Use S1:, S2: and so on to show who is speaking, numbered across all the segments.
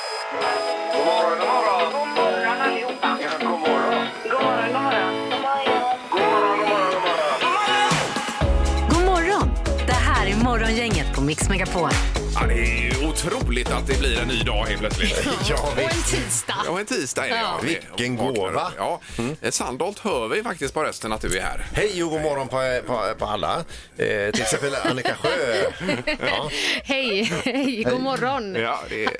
S1: God morgon, god morgon. God morgon allihopa. Ja, god morgon. God morgon, god morgon. God morgon, god morgon, god morgon.
S2: God morgon! Det här är Morgongänget på Mix Megapol.
S3: Ja, det är ju otroligt att det blir en ny dag helt plötsligt.
S4: Ja,
S5: Och en tisdag.
S3: Ja, en tisdag är det. Ja.
S4: Vilken
S3: Vaknar upp.
S4: gåva.
S3: Ja. Eh, Sandholt hör vi faktiskt på rösten att du är här.
S4: Hej och god morgon på, på, på alla. Eh, till exempel Annika Sjö. Ja.
S5: Hej, hej, god morgon.
S3: Ja, det är...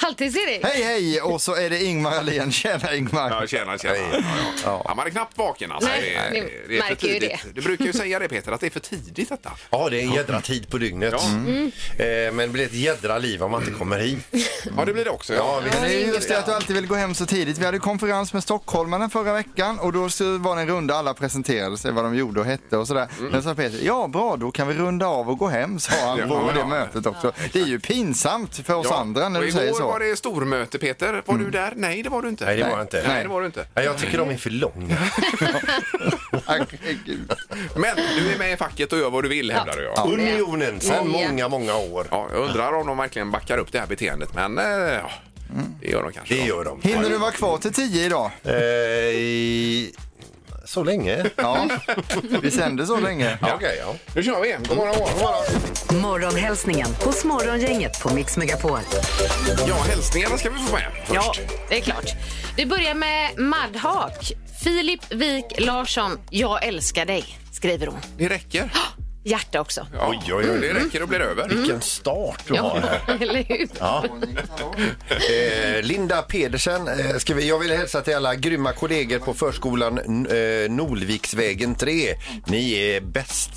S5: Halvtids-Erik.
S6: Hej hej! Och så är det Ingmar Ahlén. Tjena Ingmar!
S3: Ja, tjena, tjena. Ja, ja. Ja, man är knappt vaken alltså.
S5: Nej, ni
S3: för
S5: märker ju
S3: tidigt.
S5: det.
S3: Du brukar ju säga det Peter, att det är för tidigt detta.
S4: ja, det är en jädra tid på dygnet.
S3: Ja.
S4: Eh, men det blir ett jädra liv om man inte kommer hit.
S3: Ja, det blir det också.
S4: Ja,
S3: Ja.
S4: vi,
S6: Men det är ju just det att du alltid vill gå hem så tidigt. Vi hade konferens med stockholmarna förra veckan och då så var det en runda. Alla presenterade sig, vad de gjorde och hette och sådär. Men sa Peter, ja bra då kan vi runda av och gå hem, sa han
S3: Mm. Ja,
S6: på
S3: ja,
S6: det
S3: ja.
S6: mötet också. Det är ju pinsamt för oss
S3: Ja.
S6: andra när
S3: Och
S6: du säger
S3: Igår var
S6: så.
S3: det stormöte Peter. Var du där? Nej, det var du inte.
S4: Nej, det var jag inte.
S3: Nej, det var du inte.
S4: Nej, jag tycker de är för långa.
S6: Äh, Herregud.
S3: Men du är med i facket och gör vad du vill hävdar du. Ja.
S4: Unionen sedan många, många år.
S3: Ja, jag undrar om de verkligen backar upp det här beteendet, men eh, ja, det gör de kanske.
S4: Det
S3: då.
S4: gör de.
S6: Hinner du vara kvar till tio idag?
S4: Eh, i... Så länge?
S6: Ja, vi sänder så länge.
S4: Ja, okej, ja.
S3: Nu kör vi! God morgon, god morgon.
S2: Morgonhälsningen hos Morgongänget på Mix Megapol.
S3: Ja, hälsningarna ska vi få med
S5: Ja,
S3: först.
S5: det är klart. Vi börjar med Madhak. Filip Wik Larsson, jag älskar dig, skriver hon.
S3: Det räcker.
S5: Hjärta också.
S3: Ja,
S4: Oj, oj, oj.
S3: Det
S5: Mm.
S3: räcker och blir över.
S4: Vilken start du har här.
S5: eller hur?
S4: Ja. Eh, Linda Pedersen eh, skriver, jag vill hälsa till alla grymma kollegor på förskolan eh, Nolviksvägen 3. Ni är bäst,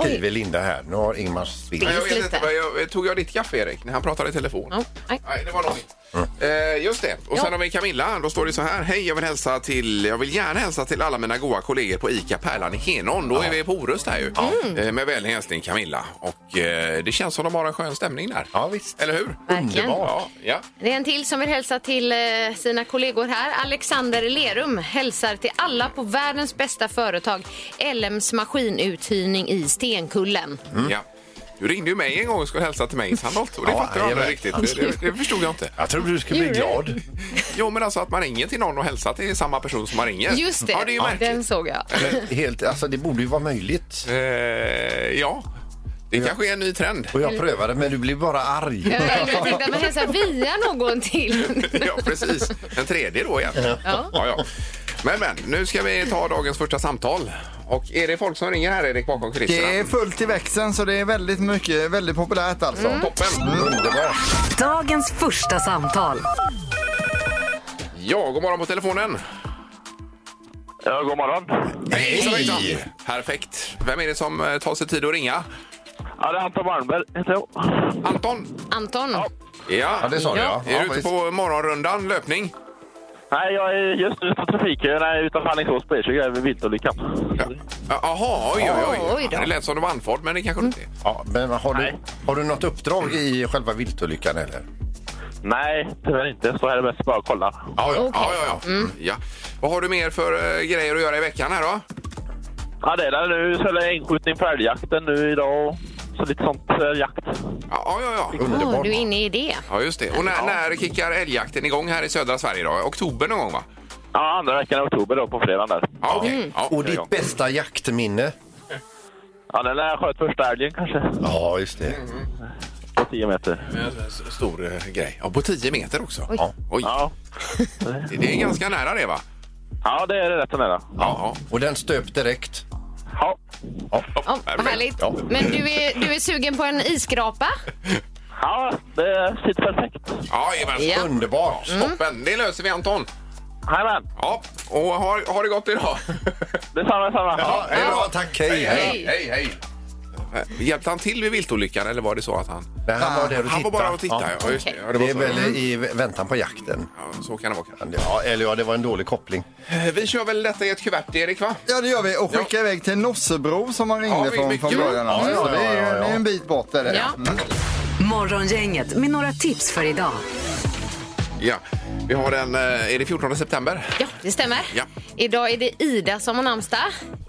S4: skriver Linda här. Nu har Ingmar
S3: Men
S4: svikt.
S3: jag vet
S5: lite.
S3: inte, vad jag, tog jag ditt kaffe Erik när han pratade i telefon?
S5: Ja, nej.
S3: Nej, det var nog mitt.
S4: Mm.
S3: Eh, just det. Och sen
S5: Ja.
S3: har vi Camilla. Då står det så här. Hej, jag vill hälsa till... Jag vill gärna hälsa till alla mina goa kollegor på ICA Pärlan i Henån. Då är vi på Orust här ju. Eh, med vänlig hälsning Camilla. Och eh, det känns som de har en skön stämning där.
S4: Ja, visst.
S3: Eller hur?
S5: Verkligen.
S3: Ja, ja.
S5: Det är en till som vill hälsa till eh, sina kollegor här. Alexander Lerum hälsar till alla på världens bästa företag, LMs maskinuthyrning i Stenkullen.
S3: ja. Du ringde ju mig en gång och skulle hälsa till mig i Sandholt och det
S4: Mm. Ja,
S3: fattade jag aldrig
S4: jajamän.
S3: riktigt. Det, det, det förstod jag inte.
S4: Jag tror du skulle bli glad.
S3: Jo men alltså att man ringer till någon och hälsar till samma person som man ringer.
S5: Just det,
S3: Ja, det är ju märkligt.
S5: den såg jag.
S4: Helt, alltså, det borde ju vara möjligt.
S3: Eh, ja, det kanske är en ny trend.
S4: Och jag prövade, men du blev bara arg.
S5: Jag tänkte att man hälsar via någon till.
S3: ja, precis. En tredje då egentligen.
S5: Ja.
S3: Ja, ja. Men, men, nu ska vi ta dagens första samtal. Och är det folk som ringer här, Erik, bakom kulisserna?
S6: Det är fullt i växeln så det är väldigt mycket, väldigt populärt alltså.
S3: Toppen!
S4: Underbart.
S2: Dagens första samtal.
S3: Ja, god morgon på telefonen.
S1: Ja, god morgon.
S3: Hejsan, hejsan. Perfekt. Vem är det som eh, tar sig tid att ringa?
S1: Ja, det är Anton Malmberg heter jag.
S3: Anton?
S5: Anton,
S3: Ja,
S4: Ja, det sa du, ja.
S3: Är
S4: Ja,
S3: du ute
S4: visst.
S3: på morgonrundan, löpning?
S1: Nej, jag är just nu på trafikköerna utanför Alingsås på E20 vid viltolyckan.
S3: Ja. Jaha, oj, oj,
S5: Ja,
S3: oj.
S5: oj då. Mm.
S3: Det lät som du var andfådd, men det kanske du inte är.
S4: Ja, men har du,
S1: Nej.
S4: har du något uppdrag i själva viltolyckan eller?
S1: Nej, tyvärr inte. Så här är det bäst bara att kolla.
S3: Ja, ja, ja. ja,
S5: Mm.
S3: ja. ja. Vad har du mer för eh, grejer att göra i veckan här då?
S1: Ja, det är där nu. Så är det inskjutning för älgjakten nu idag. och Så lite sånt eh, jakt.
S3: Ja, ja, ja.
S5: Åh, du är inne i det.
S3: Ja, just det. Och när, när kickar älgjakten igång här i södra Sverige då? Oktober någon gång va?
S1: Ja, andra veckan i oktober då på fredagen där.
S3: Ja, okej.
S5: Mm.
S3: Ja.
S4: Och ditt bästa jaktminne?
S1: Ja, den där jag sköt första älgen kanske.
S4: Ja, just det.
S1: På 10 meter.
S3: Stor eh, grej. Ja, på 10 meter också.
S5: Oj.
S3: Ja. Oj.
S1: Ja,
S3: Det- Det är ganska nära det va?
S1: ja det är rätt så nära.
S3: Ja.
S4: Och den stöp direkt.
S1: Ja.
S5: Ja, vad härligt.
S4: Ja.
S5: Men du är, du är sugen på en iskrapa?
S1: ja, det sitter perfekt.
S3: Ja, jajamän.
S5: Ja. Mm.
S4: Underbart.
S3: Toppen. Det löser vi Anton.
S1: Jajamän,
S3: Ja, och ha, ha det gott idag.
S1: detsamma, detsamma.
S4: Ja, det är bra. Tack. Hej, hej.
S3: hej, hej. Eh, Hjälpte han till vid viltolyckan eller var det så att han...
S4: Nej, han var där och
S3: Han var
S4: tittade.
S3: bara och tittade. Ja, Mm. just det.
S5: Okej.
S3: Ja, det, var
S4: Det är
S3: så.
S4: väl i väntan på jakten.
S3: Ja, så kan det vara. kanske.
S4: Ja, eller ja, det var en dålig koppling.
S3: Eh, Vi kör väl detta i ett kuvert, Erik, va?
S6: Ja det gör vi och skicka iväg till Nossebro som man ringde
S3: Ja, vi-
S6: från,
S3: mycket
S6: från
S3: bra.
S6: början.
S4: Ja,
S6: alltså.
S4: ja,
S6: Så det, är,
S4: ja, ja, ja.
S6: det är en bit bort. Är det.
S5: Ja.
S6: Mm.
S2: Morgongänget med några tips för idag.
S3: Ja. Vi har den, eh, är det 14 september?
S5: Ja, det stämmer.
S3: Ja.
S5: Idag är det Ida som har namnsdag.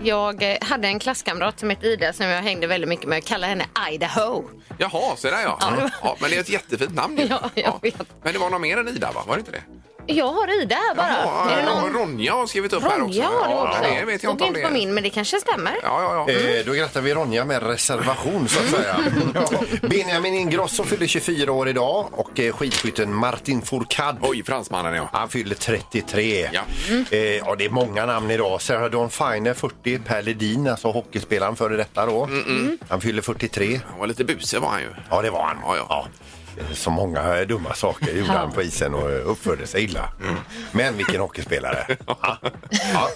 S5: Jag eh, hade en klasskamrat som hette Ida som jag hängde väldigt mycket med. Jag kallade henne Idaho.
S3: Jaha, så där ja.
S5: Ja, det
S3: ja.
S5: var-
S3: men det är ett jättefint namn. ju.
S5: Ja, jag vet.
S3: Men det var någon mer än Ida, va? Var det inte det?
S5: Jag har Ida här bara.
S3: Jaha,
S5: är det någon?
S3: Ronja har skrivit upp här också.
S5: Ronja har du
S3: Ja,
S5: också.
S3: Det vet jag
S5: Stod
S3: inte om det
S5: på min, men det kanske stämmer.
S3: Ja, ja, ja.
S4: Eh, Då grattar vi Ronja med reservation så att
S3: Mm.
S4: säga. Ja. Benjamin Ingrosso fyller 24 år idag och eh, skidskytten Martin Fourcade
S3: Oj, fransmannen ja.
S4: Han fyller 33.
S3: Ja.
S4: Eh, ja, det är många namn idag. Sarah Dawn Finer 40, Per Ledin, alltså hockeyspelaren före detta då.
S3: Mm,
S4: Han fyller 43.
S3: Han var lite busig var han ju.
S4: Ja, det var han.
S3: Ja, ja.
S4: Eh, Så många eh, dumma saker gjorde han på isen och eh, uppförde sig illa.
S3: Mm.
S4: Men vilken hockeyspelare! Ja. Ja.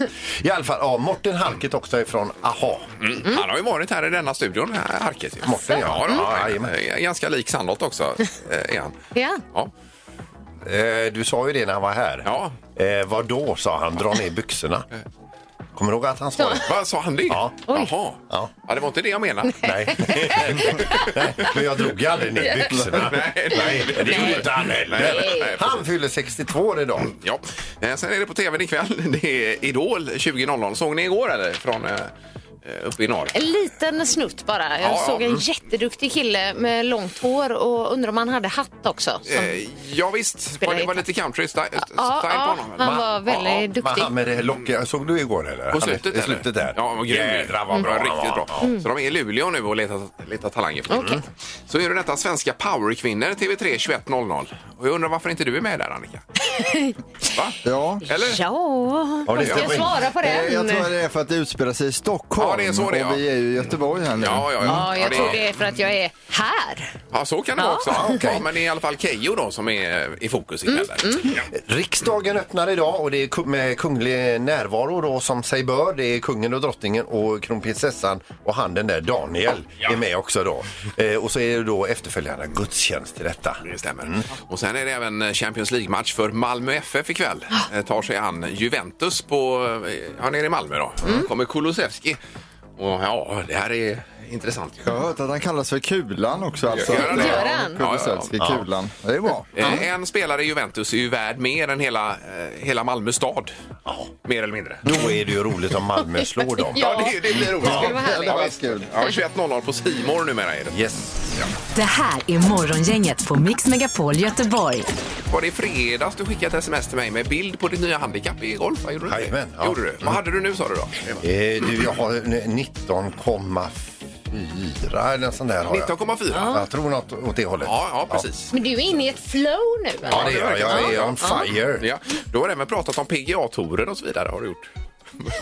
S4: I alla fall, ja, Morten Halket också ifrån AHA.
S3: Mm. Han har ju varit här i denna studion, här, Harket. ju.
S4: Morten, ja.
S3: Ja, då,
S4: Mm.
S3: han är-
S4: Jajamän.
S3: är ganska lik Sandlot också. eh, Är han.
S5: Ja.
S3: Ja.
S4: Eh, Du sa ju det när han var här.
S3: Ja.
S4: Eh, vad då, sa han, dra ner byxorna. Kommer du ihåg att han sa det?
S3: Vad sa han det?
S4: Ja.
S5: Oj.
S3: Jaha.
S4: Ja.
S3: Ja, det var inte det jag menade.
S4: Nej. Nej, men jag drog ju aldrig ner byxorna.
S3: Nej, nej.
S4: Det gjorde inte han
S3: Nej, nej,
S4: heller. Han fyller 62 år idag.
S3: Ja. Eh, Sen är det på tvn ikväll. Det är Idol 20.00. Såg ni igår eller? Från eh, eh, uppe i norr?
S5: En liten snutt bara. Jag
S3: Ja, ja.
S5: såg en jätteduktig kille med långt hår och undrar om han hade hatt också. Som...
S3: Eh, Ja, visst. Var det var lite country sti- style
S5: ja,
S3: på
S5: ja,
S3: honom. eller?
S5: han var väldigt
S4: Men
S5: duktig.
S4: han med det lockiga, såg du igår eller?
S3: På
S4: Han är-
S3: slutet?
S4: I
S3: eller?
S4: slutet där.
S3: Ja, han var grym.
S4: Jädrar vad bra
S3: Ja,
S4: han
S3: Riktigt
S4: var.
S3: bra.
S5: Mm.
S3: Så de är i Luleå nu och letar, letar talanger. Mm. Så är det detta svenska powerkvinnor, TV3 21.00. Och jag undrar varför inte du är med där, Annika? Va?
S6: Ja.
S3: Eller?
S5: Ja,
S4: det
S5: vad ska jag
S4: stämmer.
S5: svara på
S6: Eh,
S5: den?
S6: Jag tror det är för att det utspelar sig i Stockholm.
S3: Ja, det är så det är,
S6: och vi
S3: ja.
S6: är ju i Göteborg här nu.
S3: Ja, ja, ja.
S5: Ja, jag
S3: det
S5: tror
S3: är-
S5: det är för att jag är här.
S3: Ja, så kan det vara också. Ja, ja, men det är i alla fall Keyyo då som är i fokus ikväll.
S5: Mm.
S3: där. Ja.
S4: Riksdagen öppnar idag och det är ku- med kunglig närvaro då som sig bör. Det är kungen och drottningen och kronprinsessan och han den där Daniel är med också då. Eh, och så är det då efterföljande gudstjänst till detta.
S3: Det stämmer. Och sen är det även Champions League-match för Malmö FF ikväll. Eh, Tar sig an Juventus på, eh, ja nere i Malmö då. Kommer Kulusevski. Och ja, det här är intressant. ju.
S6: Jag har hört att han kallas för Kulan också. Alltså.
S3: Gör han det?
S5: Gör han?
S6: Ja, Kulusevski,
S4: Ja, ja, ja.
S6: Kulan. Det är bra.
S3: Eh, En spelare i Juventus är ju värd mer än hela, eh, hela Malmö stad. Mer eller mindre.
S4: Då är det ju roligt om Malmö slår dem.
S5: Ja.
S3: det, det blir roligt.
S5: skulle vara härligt.
S6: Det var kul.
S3: Ja, 21.00 på C More numera är det.
S4: Yes.
S2: Det här är Morgongänget på Mix Megapol Göteborg.
S3: Var det i fredags du skickade ett sms till mig med bild på ditt nya handikapp i golf? va? Gjorde du det?
S4: Jajamän, ja.
S3: Gjorde du? Vad hade du nu sa du då?
S4: Eh, du, jag har eh, 19,4 eller en sån där har jag.
S3: 19,4?
S4: Jag tror något åt det hållet.
S3: Ja, ja precis.
S5: Men du är inne i ett flow nu.
S4: Ja,
S5: eller?
S4: det gör jag. Jag är on fire.
S3: Ja. Du har även pratat om PGA-touren och så vidare har du gjort.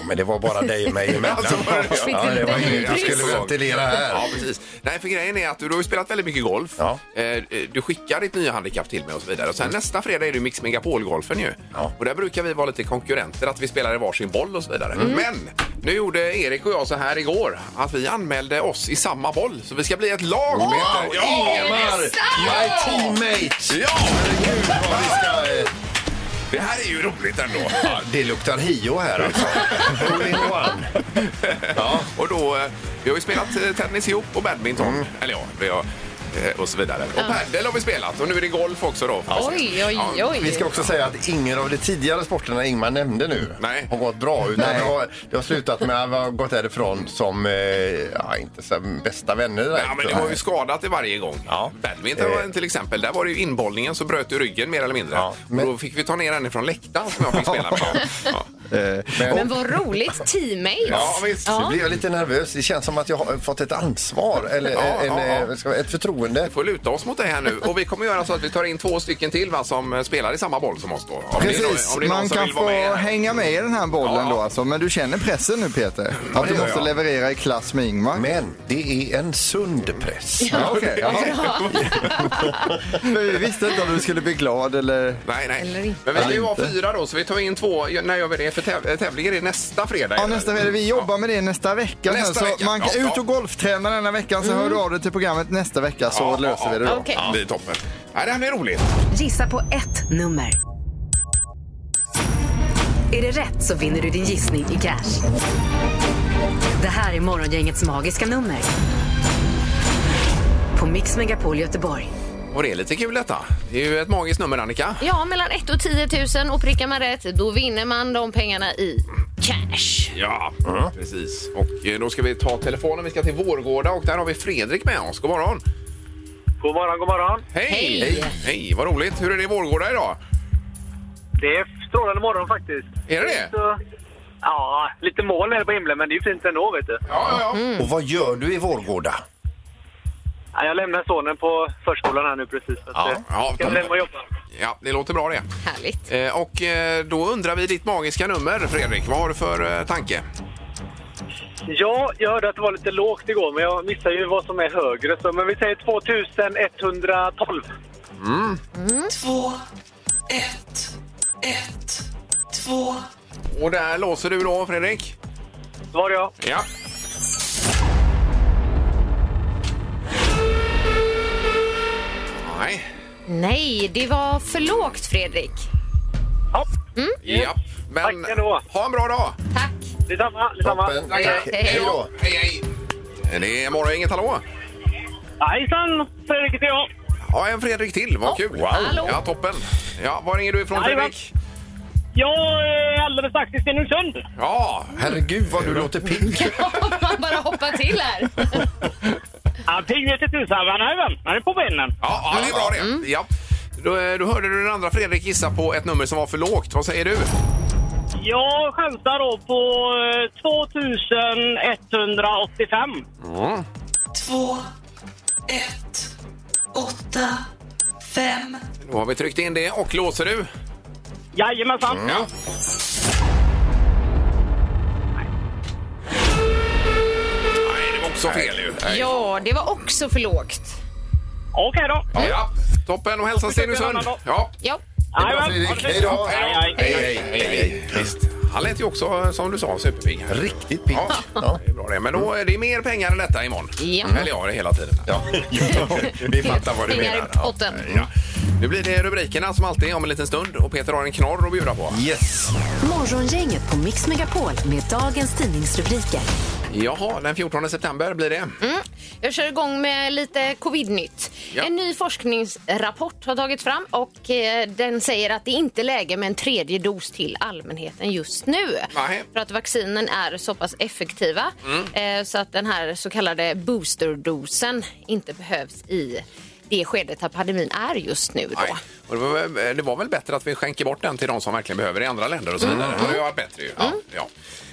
S4: Men det var bara dig och mig emellan.
S3: Alltså, var det-
S4: ja, det var inget jag skulle
S3: Precis.
S4: ventilera
S3: Ja,
S4: här.
S3: precis. Nej, för grejen är att du, du har ju spelat väldigt mycket golf.
S4: Ja. Mm.
S3: Eh, Du skickar ditt nya handikapp till mig och så vidare. Och sen nästa fredag är det ju Mix Megapol-golfen ju.
S4: Ja.
S3: Och där brukar vi vara lite konkurrenter, att vi spelar i varsin boll och så vidare. Men nu gjorde Erik och jag så här igår, att vi anmälde oss i samma boll. Så vi ska bli ett lag.
S4: Oh,
S3: Wow,
S4: Ingemar, my teammate!
S3: Ja!
S4: Gud, vad vi ska, eh,
S3: Det här är ju roligt ändå.
S4: ja, det luktar Hio här alltså. All in one.
S3: Ja. Och då, eh, vi har ju spelat eh, tennis ihop och badminton.
S6: Mm.
S3: Eller ja, vi har, eh, och så vidare. Och padel har vi spelat och nu är det golf också då.
S5: Oj, oj,
S3: Ja.
S5: oj.
S4: Vi ska också säga att ingen av de tidigare sporterna Ingmar nämnde nu
S3: Nej.
S4: har gått bra. Utan det, har, det har slutat med att vi har gått därifrån som, eh, ja, inte som bästa vänner direkt.
S3: Ja, men det var ju skadat i varje gång.
S4: Ja.
S3: Badminton
S6: Eh.
S3: var en till exempel, där var det ju inbollningen så bröt du ryggen mer eller mindre.
S4: Ja, men-
S3: Och då fick vi ta ner henne från läktaren som jag fick spela med. Ja,
S6: Eh,
S5: Men vad roligt, teammates.
S3: ja visst.
S4: Nu blir jag lite nervös. Det känns som att jag har fått ett ansvar eller
S3: Ja,
S4: en,
S3: ja, ja.
S4: eh, ska- ett förtroende.
S3: Får luta oss mot dig här nu. Och vi kommer göra så att vi tar in två stycken till va, som eh, spelar i samma boll som oss då. Om det är någon-
S6: Precis,
S3: om det är någon
S6: man
S3: som
S6: kan
S3: vill
S6: få
S3: vara med.
S6: hänga med i den här
S3: Ja.
S6: bollen då alltså. Men du känner pressen nu Peter? Att du
S4: gör
S6: måste
S4: jag.
S6: leverera i klass med Ingmar?
S4: Men det är en sund press.
S6: Ja, okej. Men vi visste inte om du skulle bli glad eller...
S3: Nej,
S5: Eller
S3: nej.
S5: inte.
S3: Men vi ska ju
S6: Eller
S3: vara
S6: inte.
S3: fyra då, så vi tar in två. När gör vi det? För täv- tävlingen är nästa fredag.
S6: Ja,
S3: eller?
S6: nästa vecka. Vi jobbar med det nästa vecka.
S3: Nästa
S6: så
S3: vecka.
S6: Man kan
S3: Ja, ja.
S6: ut och golfträna denna veckan så hör du av dig till programmet nästa vecka så
S3: Ja, ja,
S6: löser
S3: ja.
S6: vi det då.
S5: Okej.
S3: Ja, det är toppen. Nej, det här blir roligt.
S2: Gissa på ett nummer. Är det rätt så vinner du din gissning i cash. Det här är Morgongängets magiska nummer. På Mix Megapol Göteborg.
S3: Och det är lite kul detta. Det är ju ett magiskt nummer Annika.
S5: Ja, mellan 1 och 10 000 och prickar man rätt då vinner man de pengarna i cash.
S3: Ja,
S6: Mm.
S3: precis. Och eh, då ska vi ta telefonen. Vi ska till Vårgårda och där har vi Fredrik med oss. God morgon!
S1: God morgon, god morgon.
S3: Hej!
S5: Hej.
S3: Hej, Hej, vad roligt! Hur är det i Vårgårda idag?
S1: Det är strålande morgon faktiskt.
S3: Är det det?
S1: Så, ja, lite moln är det på himlen men det är ju fint ändå vet du.
S3: Ja, ja, ja.
S4: Och vad gör du i Vårgårda?
S1: Ja, jag lämnar sonen på förskolan här nu precis. Så att,
S3: Ja,
S1: eh,
S3: ja.
S1: Ska jag lämna och jobba.
S3: ja det låter bra det.
S5: Härligt.
S3: Eh, Och eh, då undrar vi ditt magiska nummer, Fredrik. Vad har du för eh, tanke?
S1: Ja, jag hörde att det var lite lågt igår men jag missar ju vad som är högre. Så, men vi säger 2112.
S7: två, ett, ett, två.
S3: Och där låser du då, Fredrik?
S1: Var jag?
S3: Ja. Nej.
S5: Nej, det var för lågt Fredrik.
S1: Ja,
S3: Ja. Men
S1: Tack ändå.
S3: ha en bra dag!
S5: Tack.
S1: detsamma, detsamma.
S4: Toppen.
S1: Tack.
S4: Tack.
S5: Hej.
S4: Hej då.
S3: Hej, hej! Det är morgon, inget hallå?
S1: Hejsan, Fredrik heter jag.
S3: Ja, en Fredrik till. Vad kul!
S5: hallå.
S3: Ja, toppen! Ja, var ringer du ifrån,
S1: Jajamän.
S3: Fredrik?
S1: Jag är alldeles strax i Stenungsund.
S3: Ja,
S4: Herregud vad du låter pigg.
S5: Man bara hoppar till här.
S1: Ja, pingvete tusan, han är väl. Han är på benen.
S3: ja, ja det är bra det. Ja. Då, eh, då hörde du den andra Fredrik gissa på ett nummer som var för lågt. Vad säger du?
S1: Jag chansar då på eh, 2185.
S7: Två, ett, åtta, fem.
S3: Då har vi tryckt in det och låser du.
S1: Jajamensan.
S4: Mm.
S3: Ja. Nej, det var också fel ju.
S5: Ja, det var också för lågt.
S1: Okej då.
S3: Ja, toppen och hälsa Stenungsund. Ja.
S5: Ja.
S4: Bra,
S1: Jajamän.
S4: Fredrik. Hej då.
S1: Hej, hej.
S4: Hej, hej, hej, hej.
S3: Visst. Han lät ju också, som du sa, superpigg. här.
S4: Riktigt pigg.
S3: Ja.
S4: Ja.
S3: Det är bra det. Men då är det mer pengar än detta imorgon.
S5: Ja.
S3: Eller ja, det är hela tiden.
S4: Ja.
S3: Vi fattar vad du
S5: Pengar i
S3: menar.
S5: potten.
S3: Ja. Nu blir det rubrikerna som alltid om en liten stund och Peter har en knorr att bjuda på.
S4: Yes.
S2: Morgongänget på Mix Megapol med dagens tidningsrubriker.
S3: Jaha, den 14 september blir det.
S5: Jag kör igång med lite covid-nytt.
S3: Ja.
S5: En ny forskningsrapport har tagits fram och eh, den säger att det inte är läge med en tredje dos till allmänheten just nu.
S3: Nej. Mm.
S5: För att vaccinen är så pass effektiva eh, så att den här så kallade boosterdosen inte behövs i det skedet här pandemin är just nu. Då.
S3: Nej. Och det, var, väl- det var väl bättre att vi skänker bort den till de som verkligen behöver i andra länder och så vidare.
S5: Mm.
S3: Det har ju varit bättre ju. Ja, ja.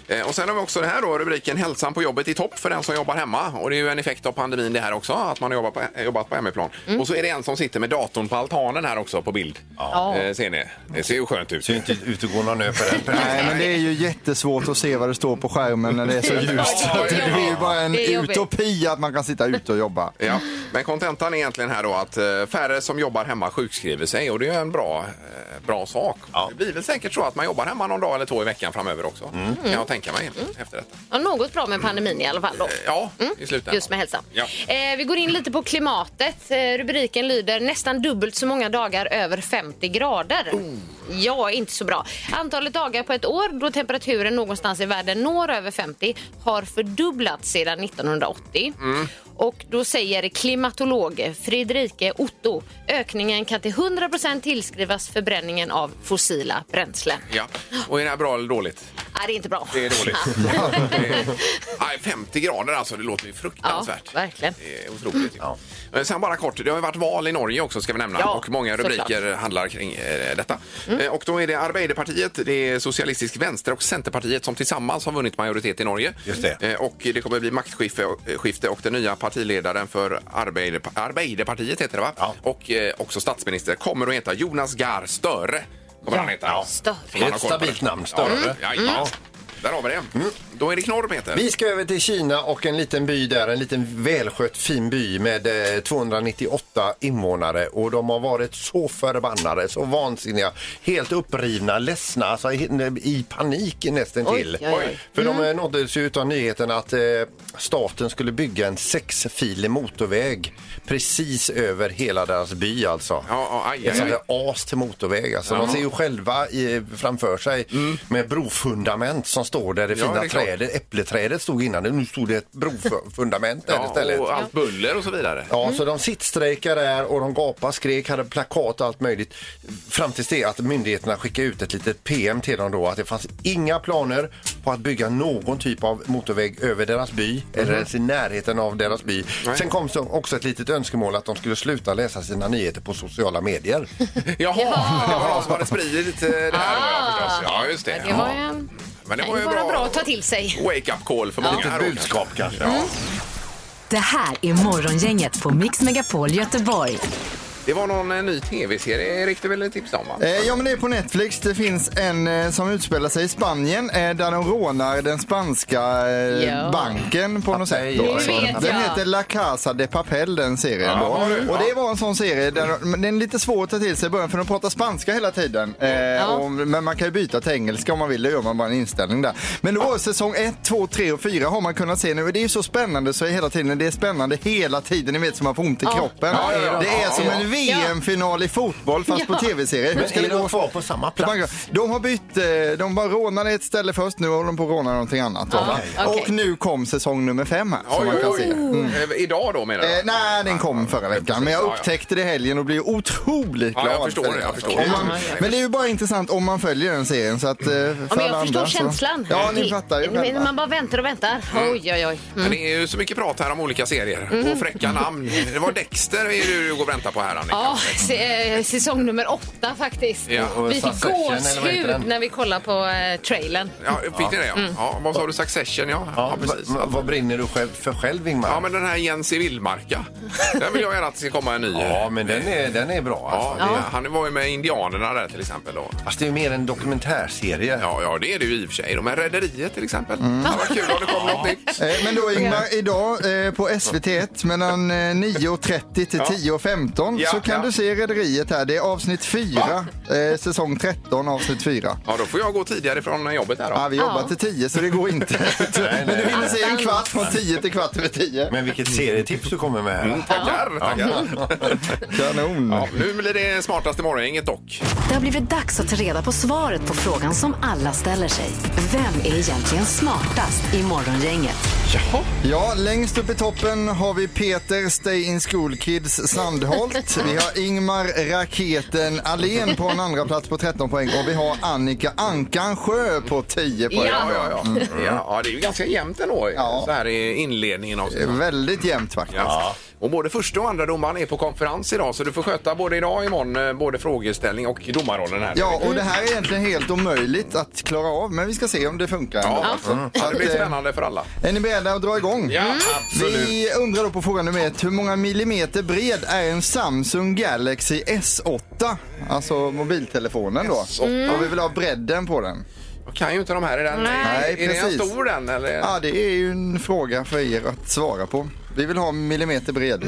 S3: Eh, Och sen har vi också det här då, rubriken Hälsan på jobbet i topp för den som jobbar hemma. Och det är ju en effekt av pandemin det här också, att man har jobbat på, jobbat på hemmaplan.
S5: Mm.
S3: Och så är det en som sitter med datorn på altanen här också på bild.
S5: Ja.
S3: Eh, ser ni? Det ser ju skönt ut.
S4: Ser inte ut att gå någon ö för den.
S6: Nej, men det är ju jättesvårt att se vad det står på skärmen när det är så ljust. Så att det är ju bara en
S5: Det är jobbigt.
S6: utopi att man kan sitta ute och jobba.
S3: Ja, men kontentan är egentligen här då att eh, färre som jobbar hemma sjukskriver sig och det är ju en bra, eh, bra sak. Det blir väl säkert så att man jobbar hemma någon dag eller två i veckan framöver också.
S5: Mm.
S3: Kan jag tänka mig efter detta.
S5: Ja, något bra med pandemin i alla fall. Då.
S3: Ja, i slutändan.
S5: Mm. Just med hälsan.
S3: Ja.
S5: Eh, vi går in lite på klimatet. Eh, rubriken lyder nästan dubbelt så många dagar över 50 grader.
S3: Oh.
S5: Ja, inte så bra. Antalet dagar på ett år då temperaturen någonstans i världen når över 50 har fördubblats sedan 1980.
S3: Mm.
S5: Och då säger klimatolog Friederike Otto ökningen kan till 100 tillskrivas förbränningen av fossila bränslen.
S3: Ja. Och är det här bra eller dåligt?
S5: Nej, det är inte bra.
S3: Det är dåligt. Det är- Nej, 50 grader alltså, det låter ju fruktansvärt.
S5: Ja, verkligen.
S3: Det är otroligt. ju. Eh, Sen bara kort, det har ju varit val i Norge också ska vi nämna
S5: Ja,
S3: och många
S5: såklart. Mm.
S3: rubriker handlar kring eh, detta. Eh, Och då är det Arbeiderpartiet, det är Socialistisk Vänster och Centerpartiet som tillsammans har vunnit majoritet i Norge.
S4: Just det.
S3: Eh, Och det kommer bli maktskifte eh, skifte och den nya partiledaren för Arbeider, Arbeiderpartiet heter det va?
S4: Ja.
S3: Och eh, också statsminister kommer att heta Jonas Gahr Støre. Kommer han heta.
S5: Støre.
S3: Man har koll
S4: Ett
S3: på
S4: stabilt
S3: det.
S4: namn, Støre.
S3: Ja, Mm. ja, ja. Där har vi det. Då är det knorr, Peter.
S4: Vi ska över till Kina och en liten by där, en liten välskött fin by med eh, 298 invånare och de har varit så förbannade, så vansinniga, helt upprivna, ledsna, alltså i, i panik nästan till.
S5: oj, oj. Mm.
S4: För de eh, nåddes ju av nyheten att eh, staten skulle bygga en sexfilig motorväg precis över hela deras by alltså.
S3: Ja, ja, aj,
S4: Ett
S3: aj,
S4: sånt
S3: aj.
S4: där as till motorväg alltså. De ser ju själva i, framför sig med brofundament som står där, det
S3: Mm. Ja,
S4: fina
S3: det är klart.
S4: trädet. Äppleträdet stod innan, nu stod det ett brofundament där istället.
S3: Ja, och allt Mm. buller och så vidare.
S4: Ja, så de sittstrejkade där och de gapade, skrek, hade plakat och allt möjligt. Fram tills det att myndigheterna skickade ut ett litet PM till dem då att det fanns inga planer på att bygga någon typ av motorväg över deras by
S3: Mm.
S4: eller ens i närheten av deras by. Sen kom så också ett litet önskemål att de skulle sluta läsa sina nyheter på sociala medier.
S3: Jaha, det var någon som hade spridit eh, det här. då, ja, förstås. Ja, just det.
S5: Ah. Det var ju,
S3: Men det
S5: det
S3: var ju
S5: var bra.
S3: bra
S5: att ta till sig.
S3: wake-up call för många. här
S4: Ett
S3: då,
S4: budskap kanske.
S2: Det här är Morgongänget på Mix Megapol Göteborg.
S3: kanske. Det var någon eh, ny tv-serie Erik du ville tipsa om va?
S6: Eh, ja, men det är på Netflix. Det finns en eh, som utspelar sig i Spanien eh, där de rånar den spanska eh,
S5: Ja.
S6: banken på något sätt. Då.
S4: Nu
S5: vet jag.
S6: Den heter La Casa de Papel, den serien. Då.
S3: har du.
S6: Och det var en sån serie där de, men den är lite svår att ta till sig i början för de pratar spanska hela tiden. Eh, och, men man kan ju byta till engelska om man vill. Det gör man bara en inställning där. Men då var säsong 1, 2, 3 och 4 har man kunnat se nu. Det är ju så spännande så hela tiden. Det är spännande hela tiden. Ni vet som man får ont i kroppen.
S3: Ja, ja, ja.
S6: Det är som
S3: Ja.
S6: en VM-final i fotboll fast på tv-serie. Hur ska
S4: Men
S6: det
S4: är de
S6: gå
S4: kvar på samma plats?
S6: de har bytt, eh, de bara rånade ett ställe först, nu håller de på att råna någonting annat. Då, va?
S5: okej.
S6: Och nu kom säsong nummer fem här. som
S3: Ah, Oj,
S6: man kan
S3: oj,
S6: se. Mm.
S3: oj. Eh, Idag då menar du?
S6: Eh, nej, den kom förra veckan. Men jag
S3: Ja, ja.
S6: upptäckte det i helgen och blev otroligt
S3: Ja,
S6: glad.
S3: jag förstår
S6: för
S3: det, jag förstår
S6: Om
S3: det.
S6: Man,
S3: Ja, ja.
S6: men det är ju bara intressant om man följer den serien. Så att, eh, för
S5: Ja, men
S6: alla
S5: jag förstår
S6: andra,
S5: känslan.
S6: Så, ja, ni
S5: Det-
S6: fattar ju
S5: men
S6: själva.
S5: Man bara väntar och väntar. Oj, oj, oj.
S3: Mm. Men det är ju så mycket prat här om olika serier
S5: Mm.
S3: och fräcka namn. Det var Dexter är det du går och väntar på här Annika.
S5: Ja, se- eh, säsong nummer åtta faktiskt.
S3: Ja,
S4: och
S5: vi fick
S4: Succession, eller vad heter
S5: gåshud
S4: den?
S5: när vi kollade på eh, trailern.
S3: Ja, fick ni det? Ja.
S5: Mm.
S3: Ja, vad sa du? Succession, ja. Ja,
S4: Ja,
S3: precis.
S4: vad- vad brinner du själv för själv Ingmar?
S3: Ja, men den här Jens i Villmarka. Den vill jag gärna att det ska komma en ny.
S4: Ja, men den är, den är bra.
S3: Ja,
S4: Alltså.
S3: det, Han var ju med i Indianerna där till exempel. Då.
S4: Fast det är ju mer en dokumentärserie.
S3: Ja, ja, det är det ju i och för sig. då. Men Rederiet till exempel.
S6: Mm.
S3: Det var kul om det kom något nytt.
S6: Eh, Men då Ingmar, idag eh, på SVT1 mellan eh, 9.30 till 10.15
S3: Ja,
S6: så kan
S3: ja.
S6: du se Rederiet här. Det är avsnitt 4, eh, säsong 13, avsnitt 4.
S3: Ja, då får jag gå tidigare från jobbet här då.
S6: Ja, vi jobbar till 10 så det går inte. Men du hinner se en kvart från 10 till kvart över 10.
S4: Men vilket serietips du kommer med här.
S3: Tackar, tackar.
S6: Kanon.
S3: Ja, nu blir det smartaste morgongänget dock.
S2: Det har blivit dags att ta reda på svaret på frågan som alla ställer sig. Vem är egentligen smartast i Morgongänget?
S3: Jaha.
S6: Ja, längst upp i toppen har vi Peter Stay in School Kids Sandholt. Vi har Ingmar Raketen Alén på en andra plats på 13 poäng och vi har Annika Ankan Sjö på 10 poäng.
S3: Ja, ja, ja. ja, ja, det är ju ganska jämnt ändå
S6: Mm. Ja.
S3: så här i inledningen av
S6: Det är Eh, Väldigt jämnt faktiskt.
S3: Ja. Och både första och andra domaren är på konferens idag så du får sköta både idag och imorgon eh, både frågeställning och domarrollen här.
S6: Ja, och det här är egentligen helt omöjligt att klara av, men vi ska se om det funkar. ändå.
S3: Ja, Mm. ja, det blir
S6: Att, eh,
S3: spännande för alla.
S6: Är ni beredda att dra igång?
S3: Ja, absolut.
S6: Vi undrar då på fråga nummer ett, hur många millimeter bred är en Samsung Galaxy S8? Alltså mobiltelefonen då. Mm. Och vi vill ha bredden på den.
S3: Jag kan ju inte de här. Är den,
S6: Nej,
S3: är den
S6: precis.
S3: stor den? Eller?
S6: Ja, det är ju en fråga för er att svara på. Vi vill ha millimeter bred.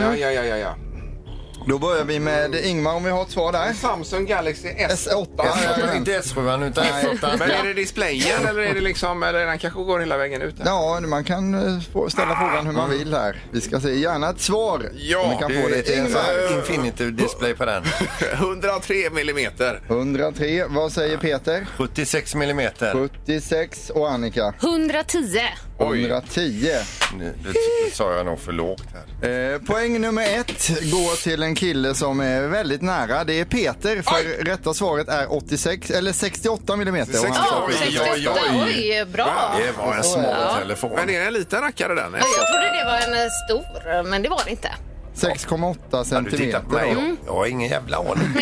S3: Ja, ja, ja, ja, ja.
S6: Då börjar vi med Ingmar om vi har ett svar där.
S3: Samsung Galaxy S8.
S6: S8. Ja, ja, ja.
S4: Inte S7 utan
S3: Men
S4: S8.
S3: är det displayen eller är det liksom, eller den kanske går hela vägen ut? Ja.
S6: Ja, man kan eh, få-
S4: Ah.
S6: ställa frågan hur man vill här. Vi ska se gärna ett svar.
S3: Ja,
S6: om vi kan
S4: Du
S6: få
S4: vet,
S6: det.
S4: det är en sån här
S6: Ingmar.
S4: Infinity display på den.
S3: 103 millimeter.
S6: 103, vad säger Peter?
S4: 76 millimeter.
S6: 76 och Annika
S5: 110.
S6: 110.
S4: Nu det sa jag nog för lågt här.
S6: Eh, poäng nummer ett går till en kille som är väldigt nära. Det är Peter för rätta svaret är 86 eller 68 millimeter. Och han-
S3: 68.
S5: Ja,
S3: Oj,
S5: 68.
S4: oj, oj.
S5: Oj, bra.
S4: Det var en smal telefon.
S3: Men är det en liten rackare den?
S5: Ja, Jag trodde det var en eh, stor, men det var det inte.
S6: 6,8
S4: Du tittar
S6: centimeter.
S4: på mig. Jag- Jag har ingen jävla aning.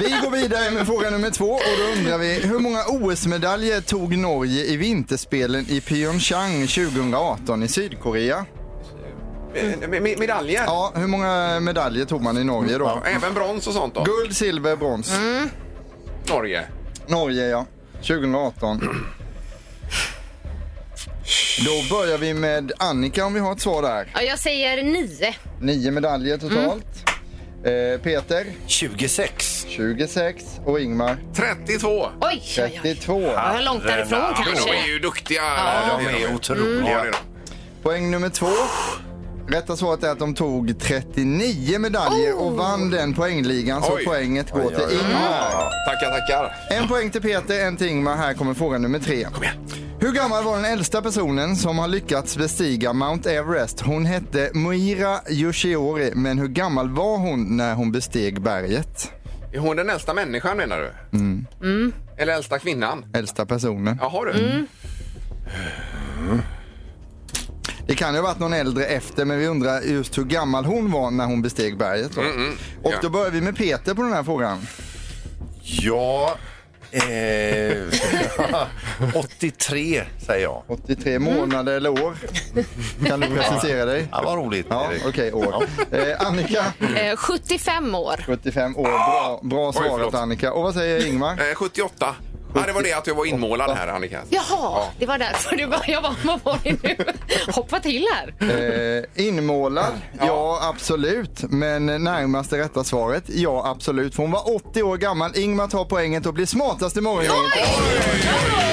S6: Vi går vidare med fråga nummer två och då undrar vi hur många OS-medaljer tog Norge i vinterspelen i Pyeongchang 2018 i Sydkorea?
S3: Eh, med- Medaljer?
S6: Ja, hur många medaljer tog man i Norge då?
S3: Även brons och sånt då?
S6: Guld, silver, brons.
S3: Norge.
S6: Norge, ja. 2018. Då börjar vi med Annika om vi har ett svar där.
S5: Ja, jag säger 9.
S6: Nio medaljer totalt.
S5: Mm.
S6: Eh, Peter,
S4: 26.
S6: 26 och Ingmar,
S3: 32.
S5: Oj, oj, oj.
S6: 32.
S5: Jag var långt därifrån
S3: Men de är
S5: kanske.
S3: ju duktiga.
S4: Ja, de är
S3: Ja, det
S4: otroliga.
S3: är de.
S6: Poäng nummer två Rätta svaret är att de tog 39 medaljer och vann den poängligan så
S3: Oj.
S6: poänget går
S4: Oh! Oj, oj,
S6: till
S4: oj.
S6: Ingmar.
S3: Tackar, tackar.
S6: En poäng till Peter, en till Ingmar. Här kommer fråga nummer tre. Hur gammal var den äldsta personen som har lyckats bestiga Mount Everest? Hon hette Moira Yoshiori, men hur gammal var hon när hon besteg berget?
S3: Är hon den äldsta människan menar du?
S4: Mm.
S3: Eller äldsta kvinnan?
S6: Äldsta personen.
S3: Jaha du.
S6: Det kan ju ha varit någon äldre efter, men vi undrar just hur gammal hon var när hon besteg berget. Då.
S4: Mm,
S6: Och
S3: Ja.
S6: då börjar vi med Peter på den här frågan.
S4: Ja. Eh, 83 säger jag.
S6: 83
S3: Mm.
S6: månader eller år. Kan du presentera dig?
S4: Ja, vad roligt.
S6: Ja,
S4: Erik.
S6: okej, år. Eh, Annika,
S5: Eh, 75 år.
S6: 75 år. Bra, bra svarat
S3: förlåt.
S6: Annika. Och vad säger Ingmar?
S3: Eh, 78. Ja, det var det att jag var inmålad här Annika.
S5: Jaha, det var därför du bara, jag bara, vad var det nu? Hoppa till här.
S6: Eh, inmålad? Ja. absolut. Men närmaste rätta svaret? Ja, absolut. För hon var 80 år gammal. Ingmar tar poänget och blir smartast i morgongänget.
S3: Eh,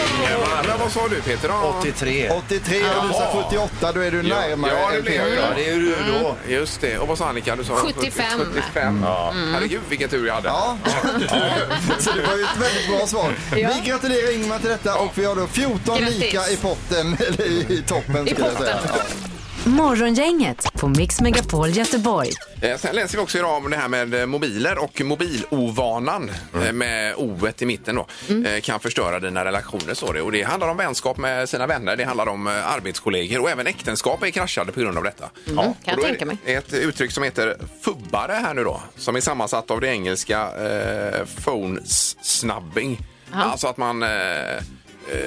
S3: men vad sa du Peter? då?
S4: 83.
S6: 83 och du sa 48, då är du närmare Mm.
S3: ja, det
S6: än
S3: blev jag ju.
S6: Peter.
S4: Ja, det är ju du då.
S3: Just det. Och vad sa Annika? Du sa
S5: 75.
S3: 75. Mm. Herregud vilken tur jag hade.
S6: Ja, så det var ju ett väldigt bra svar. Vi gratulerar Ingmar till detta och vi har då 14
S5: Grattis.
S6: lika i potten, eller i toppen skulle jag säga.
S5: potten.
S2: Morgongänget på Mix Megapol Göteborg.
S3: Eh, Sen läser vi också idag om det här med eh, mobiler och mobilovanan eh, med o i mitten då
S5: Mm.
S3: eh, kan förstöra dina relationer står det. Och det handlar om vänskap med sina vänner, det handlar om eh, arbetskollegor och även äktenskap är kraschade på grund av detta. Ja. Och
S5: Mm, jag
S3: då är
S5: tänka mig.
S3: det Ett uttryck som heter fubbare här nu då som är sammansatt av det engelska eh, phone snubbing. Alltså att man eh, eh,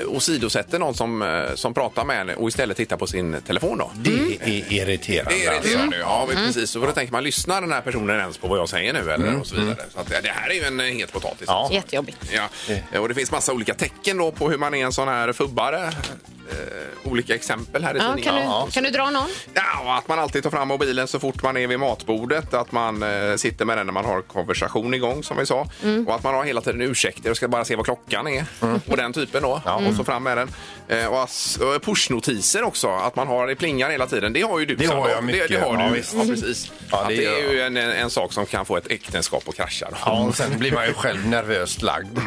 S3: åsidosätter någon som, eh, som pratar med en och istället tittar på sin telefon då.
S4: Det är irriterande. alltså.
S3: Det är det redan nu. Ja, men precis. Och då tänker man, lyssnar den här personen ens på vad jag säger nu? Eller, och så vidare. Så att, det det här är ju en eh, het potatis.
S4: Ja.
S5: Jättejobbigt.
S3: Ja. Eh, Och det finns massa olika tecken då på hur man är en sån här fubbare. Eh, olika exempel här i
S5: Ja,
S3: tidningen.
S5: kan, du, kan du dra någon?
S3: Ja, och att man alltid tar fram mobilen så fort man är vid matbordet. Att man eh, sitter med den när man har konversation igång som vi sa.
S4: Mm.
S3: Och att man har hela tiden ursäkter och ska bara se vad klockan är. Och den typen då. Och
S4: Mm.
S3: så fram med den. Eh, och ass- och pushnotiser också. Att man har, det plingar hela tiden. Det har ju du.
S4: Det har
S3: Sandra.
S4: jag mycket.
S3: Det, det har du.
S4: Ja,
S3: Ja,
S4: visst. Mm.
S3: precis.
S4: Ja,
S3: att
S4: det
S3: det
S4: gör
S3: är
S4: jag.
S3: ju en, en, en sak som kan få ett äktenskap att krascha. Då.
S4: Ja, och sen blir man ju själv nervöst lagd.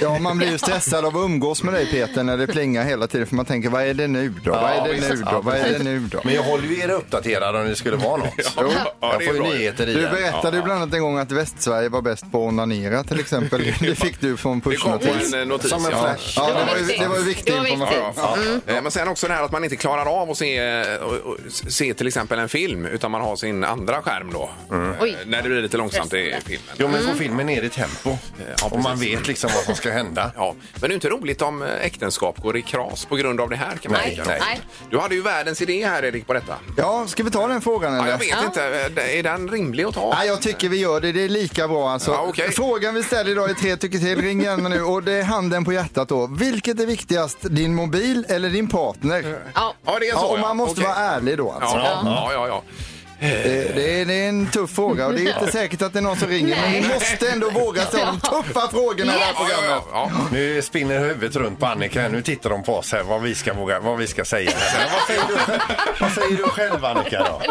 S6: Ja, man blir ju stressad av att umgås med dig Peter när det plingar hela tiden för man tänker vad är det nu då? Vad är det
S4: visst.
S6: nu då?
S4: Ja,
S6: Vad är det
S4: precis.
S6: nu då?
S4: Men jag håller ju er uppdaterade om det skulle vara något.
S3: Jo,
S4: jag får ju
S3: bra.
S4: nyheter i
S6: Du
S4: den.
S6: berättade ju bland annat en gång att Västsverige var bäst på att onanera till exempel. Det fick du från
S3: Det kom på
S6: pushnotis.
S3: en eh, notis.
S4: Som en
S3: ja.
S4: flash.
S6: Ja, det
S5: var
S6: var ju,
S5: viktigt.
S6: det var ju viktig
S5: Det var viktigt.
S6: information.
S3: Ja. Eh, Men sen också det här att man inte klarar av att se, eh, och- och se till exempel en film utan man har sin andra skärm då. Eh,
S5: Oj.
S3: När det blir lite långsamt i filmen.
S4: Jo, men så filmen ner i tempo. och man vet liksom vad som ska hända.
S3: Ja, men det är inte roligt om eh, äktenskap går i kras på grund av det här kan man
S4: Nej,
S3: tycka.
S4: nej.
S5: Nej.
S3: Du hade ju världens idé här Erik på detta.
S6: Ja, ska vi ta den frågan
S3: Ja,
S6: eller?
S3: jag vet inte, eh, är den rimlig att ta?
S6: Nej, jag tycker vi gör det. Det är lika bra alltså.
S3: Ja, okej.
S6: Frågan vi ställer idag är tre tycker till. Ring gärna nu och det är handen på hjärtat då. Vilket är viktigast, din mobil eller din partner?
S5: Ja.
S3: Ja, det är så.
S6: Ja, och
S3: ja.
S6: man måste
S3: Okej.
S6: vara ärlig då alltså.
S3: Ja, ja, ja. ja.
S6: Det, det, är, det är en tuff fråga och det är inte säkert att det är någon som ringer. Men vi måste ändå våga ställa de tuffa frågorna i det här
S3: Ja, ja,
S6: programmet.
S3: ja, ja.
S4: Nu spinner huvudet runt på Annika. här. Nu tittar de på oss här, vad vi ska, våga, vad vi ska säga. Här. Vad, säger du, vad säger du själv, Annika? Då?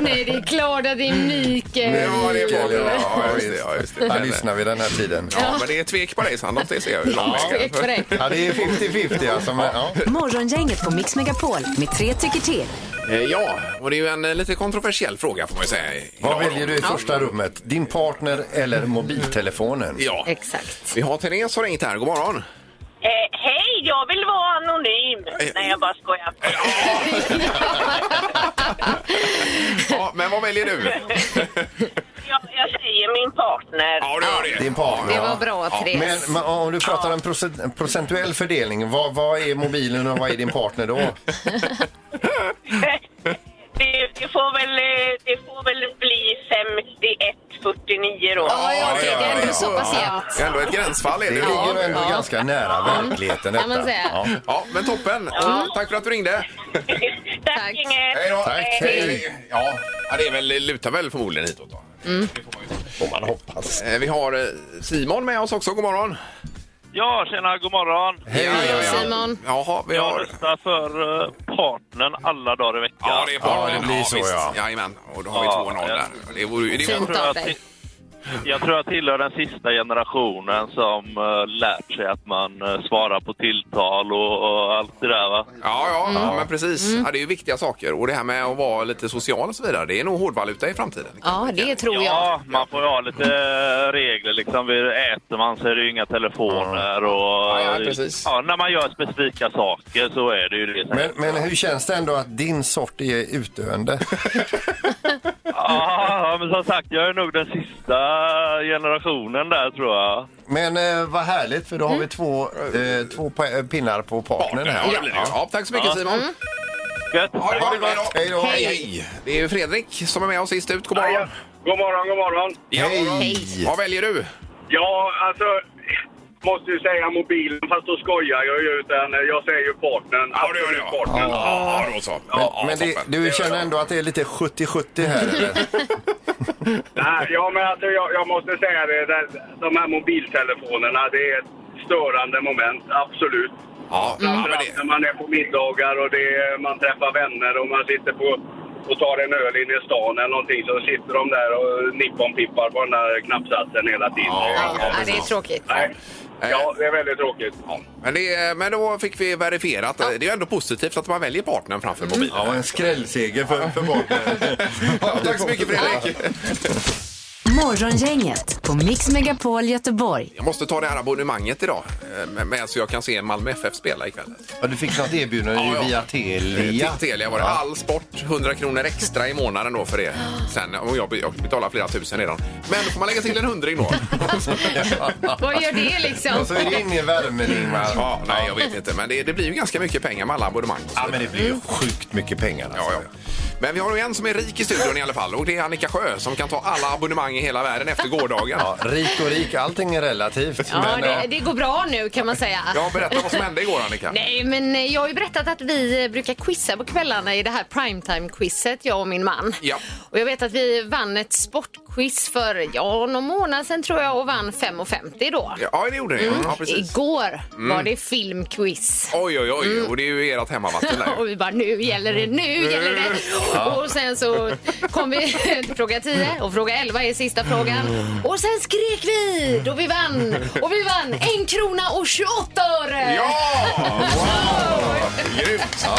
S5: Nej, det är klart att det är
S3: Det
S5: Mikael.
S3: var det
S4: Mikael,
S3: var det.
S4: ja.
S3: Ja, just det, ja, just det.
S4: Här
S3: Men, eh,
S4: lyssnar vi den här tiden.
S3: Ja, men det är tvek på dig Sandholt, det ser jag ju.
S5: Ja, tvek på dig.
S4: Ja, det är 50-50 alltså. Men, ja.
S2: Morgongänget på Mix Megapol med tre tycker till.
S3: Eh, Ja, och det är ju en eh, lite kontroversiell fråga får man ju säga. idag
S4: Vad
S3: då.
S4: väljer du i första rummet? Din partner eller mobiltelefonen?
S3: Ja,
S5: Exakt.
S3: vi har Therese som ringt här. God morgon.
S8: Eh, hej, jag vill vara anonym.
S3: Eh,
S8: Nej, jag bara skojar.
S3: Ja, men vad väljer du?
S8: Jag, jag säger min partner.
S3: Ja, du gör det.
S4: Din partner.
S5: Det
S4: ja.
S5: var bra,
S4: Men,
S5: Therese.
S4: men om du pratar en procent, procentuell fördelning, vad, vad är mobilen och vad är din partner då?
S8: Det, det, får väl, eh, det får väl bli 51-49 då.
S5: Ja,
S3: Ja,
S5: jag
S3: det
S5: tycker
S3: gör
S5: ändå
S3: det.
S5: så pass jämnt.
S3: Det är ändå ett gränsfall. Är
S4: Det
S3: det.
S4: ligger nog ändå
S5: ja.
S4: ganska nära verkligheten
S5: Kan man
S4: detta.
S5: säga.
S4: Ja.
S3: Ja, men toppen. Mm, Tack för att du ringde.
S8: Tack,
S5: Tack.
S8: gänget.
S3: Hej då.
S4: Tack, hej.
S3: Ja, ja, det är väl, lutar väl förmodligen hitåt då. Det får man ju se.
S4: Får man hoppas.
S3: Eh, Vi har eh, Simon med oss också. God morgon.
S9: Ja, tjena, god morgon.
S3: Hej,
S5: Simon.
S3: Jaha, vi
S9: Jag
S3: har...
S9: röstar för eh, partnern alla dagar i veckan.
S3: Ja, det är
S4: Ja,
S3: bara
S4: det blir så,
S3: visst.
S4: ja.
S3: Jajamän, och då har vi
S9: Ja,
S3: 2-0
S9: ja.
S3: där. Det vore ju... Det
S5: Fint.
S3: vore,
S9: tror
S5: av
S9: att
S5: dig.
S9: det- Jag tror jag tillhör den sista generationen som eh, lärt sig att man eh, svarar på tilltal och, och allt det där. Va?
S3: ja, ja, men precis. Ja, det är ju viktiga saker. Och det här med att vara lite social och så vidare, det är nog hårdvaluta i framtiden.
S5: Ja, det tror jag.
S9: Ja, man får ju ha lite eh, regler. Liksom. Vi Äter man så är det ju inga telefoner. Och,
S3: Ja, ja, precis.
S9: Ja, när man gör specifika saker så är det ju det.
S4: Men, men hur känns det ändå att din sort är utdöende?
S9: Ja, men som sagt, jag är nog den sista generationen där tror jag.
S4: Men eh, vad härligt, för då har vi två, eh, två pa- eh, pinnar på partnern
S3: Partner,
S4: här.
S3: ja, det blir det. Ja, tack så mycket Simon.
S9: Gött!
S3: Ha det bra,
S4: Hej då.
S3: Hej, hej. Det är ju Fredrik som är med oss sist ut. God morgon.
S1: God morgon, god morgon.
S3: Ja.
S4: Hej.
S3: Vad väljer du?
S1: Ja, alltså... Måste ju säga mobilen, fast då skojar jag ju. Utan jag säger ju partnern. Absolut partnern.
S3: Ja, då så. Ja,
S4: Men, men det,
S3: toppen.
S4: du känner ändå att det är lite 70-70 här eller?
S1: Nej, ja, men alltså, jag, jag måste säga det. det- De här mobiltelefonerna, det är ett störande moment, absolut.
S3: Ja, ja, men
S1: Framförallt
S3: det...
S1: när man är på middagar och det, är- man träffar vänner och man sitter på och tar en öl inne i stan eller någonting så sitter de där och nipponpippar på den där knappsatsen hela tiden.
S5: Ja, ja, det är tråkigt.
S1: Nej. Ja, det är väldigt tråkigt.
S3: Ja, men, det, men då fick vi verifierat. Det är ju ändå positivt att man väljer partnern framför mobilen.
S4: Ja, en skrällseger för, för partnern.
S3: Ja, tack så mycket Fredrik.
S2: Morgongänget på Mix Megapol Göteborg.
S3: Jag måste ta det här abonnemanget idag eh, med, med så jag kan se Malmö FF spela ikväll.
S4: Ja, du fick något erbjudande
S3: Ja, ja.
S4: via Telia.
S3: Till Telia var det. All sport, 100 kronor extra i månaden då för det. Sen, och jag, jag betalar flera tusen redan. Men då får man lägga till en hundring då.
S5: Vad gör det liksom?
S4: Och så är det inne i värmen Ingmar.
S3: Ja, nej, jag vet inte. Men det, det blir ju ganska mycket pengar med alla abonnemang. och så
S4: Ja, men
S3: vidare.
S4: det blir ju sjukt mycket pengar. Alltså.
S3: Ja, ja. Men vi har ju en som är rik i studion i alla fall och det är Annika Sjö som kan ta alla abonnemang i hela världen efter gårdagen.
S4: Ja, rik och rik, allting är relativt.
S5: Ja,
S4: men, eh,
S5: det, det går bra nu kan man säga.
S3: Ja, berätta vad som hände igår Annika.
S5: Nej, men eh, jag har ju berättat att vi eh, brukar quizza på kvällarna i det här primetime-quizet, jag och min man.
S3: Ja.
S5: Och jag vet att vi vann ett sportquiz för, ja, någon månad sedan tror jag och vann 5,50 då.
S3: Ja, det gjorde ni. Ja, precis.
S5: Mm.
S3: Mm.
S5: Igår var det filmquiz.
S3: Oj, oj, oj. Och det är ju ert hemmavatten där.
S5: Och vi bara, nu gäller det, nu
S3: Mm.
S5: gäller det. Och sen så kom vi till fråga 10 och fråga 11 är sista frågan.
S3: Mm.
S5: Och sen skrek vi då vi vann. Och vi vann en krona och 28 öre.
S3: Ja! Wow! Grymt!
S5: Så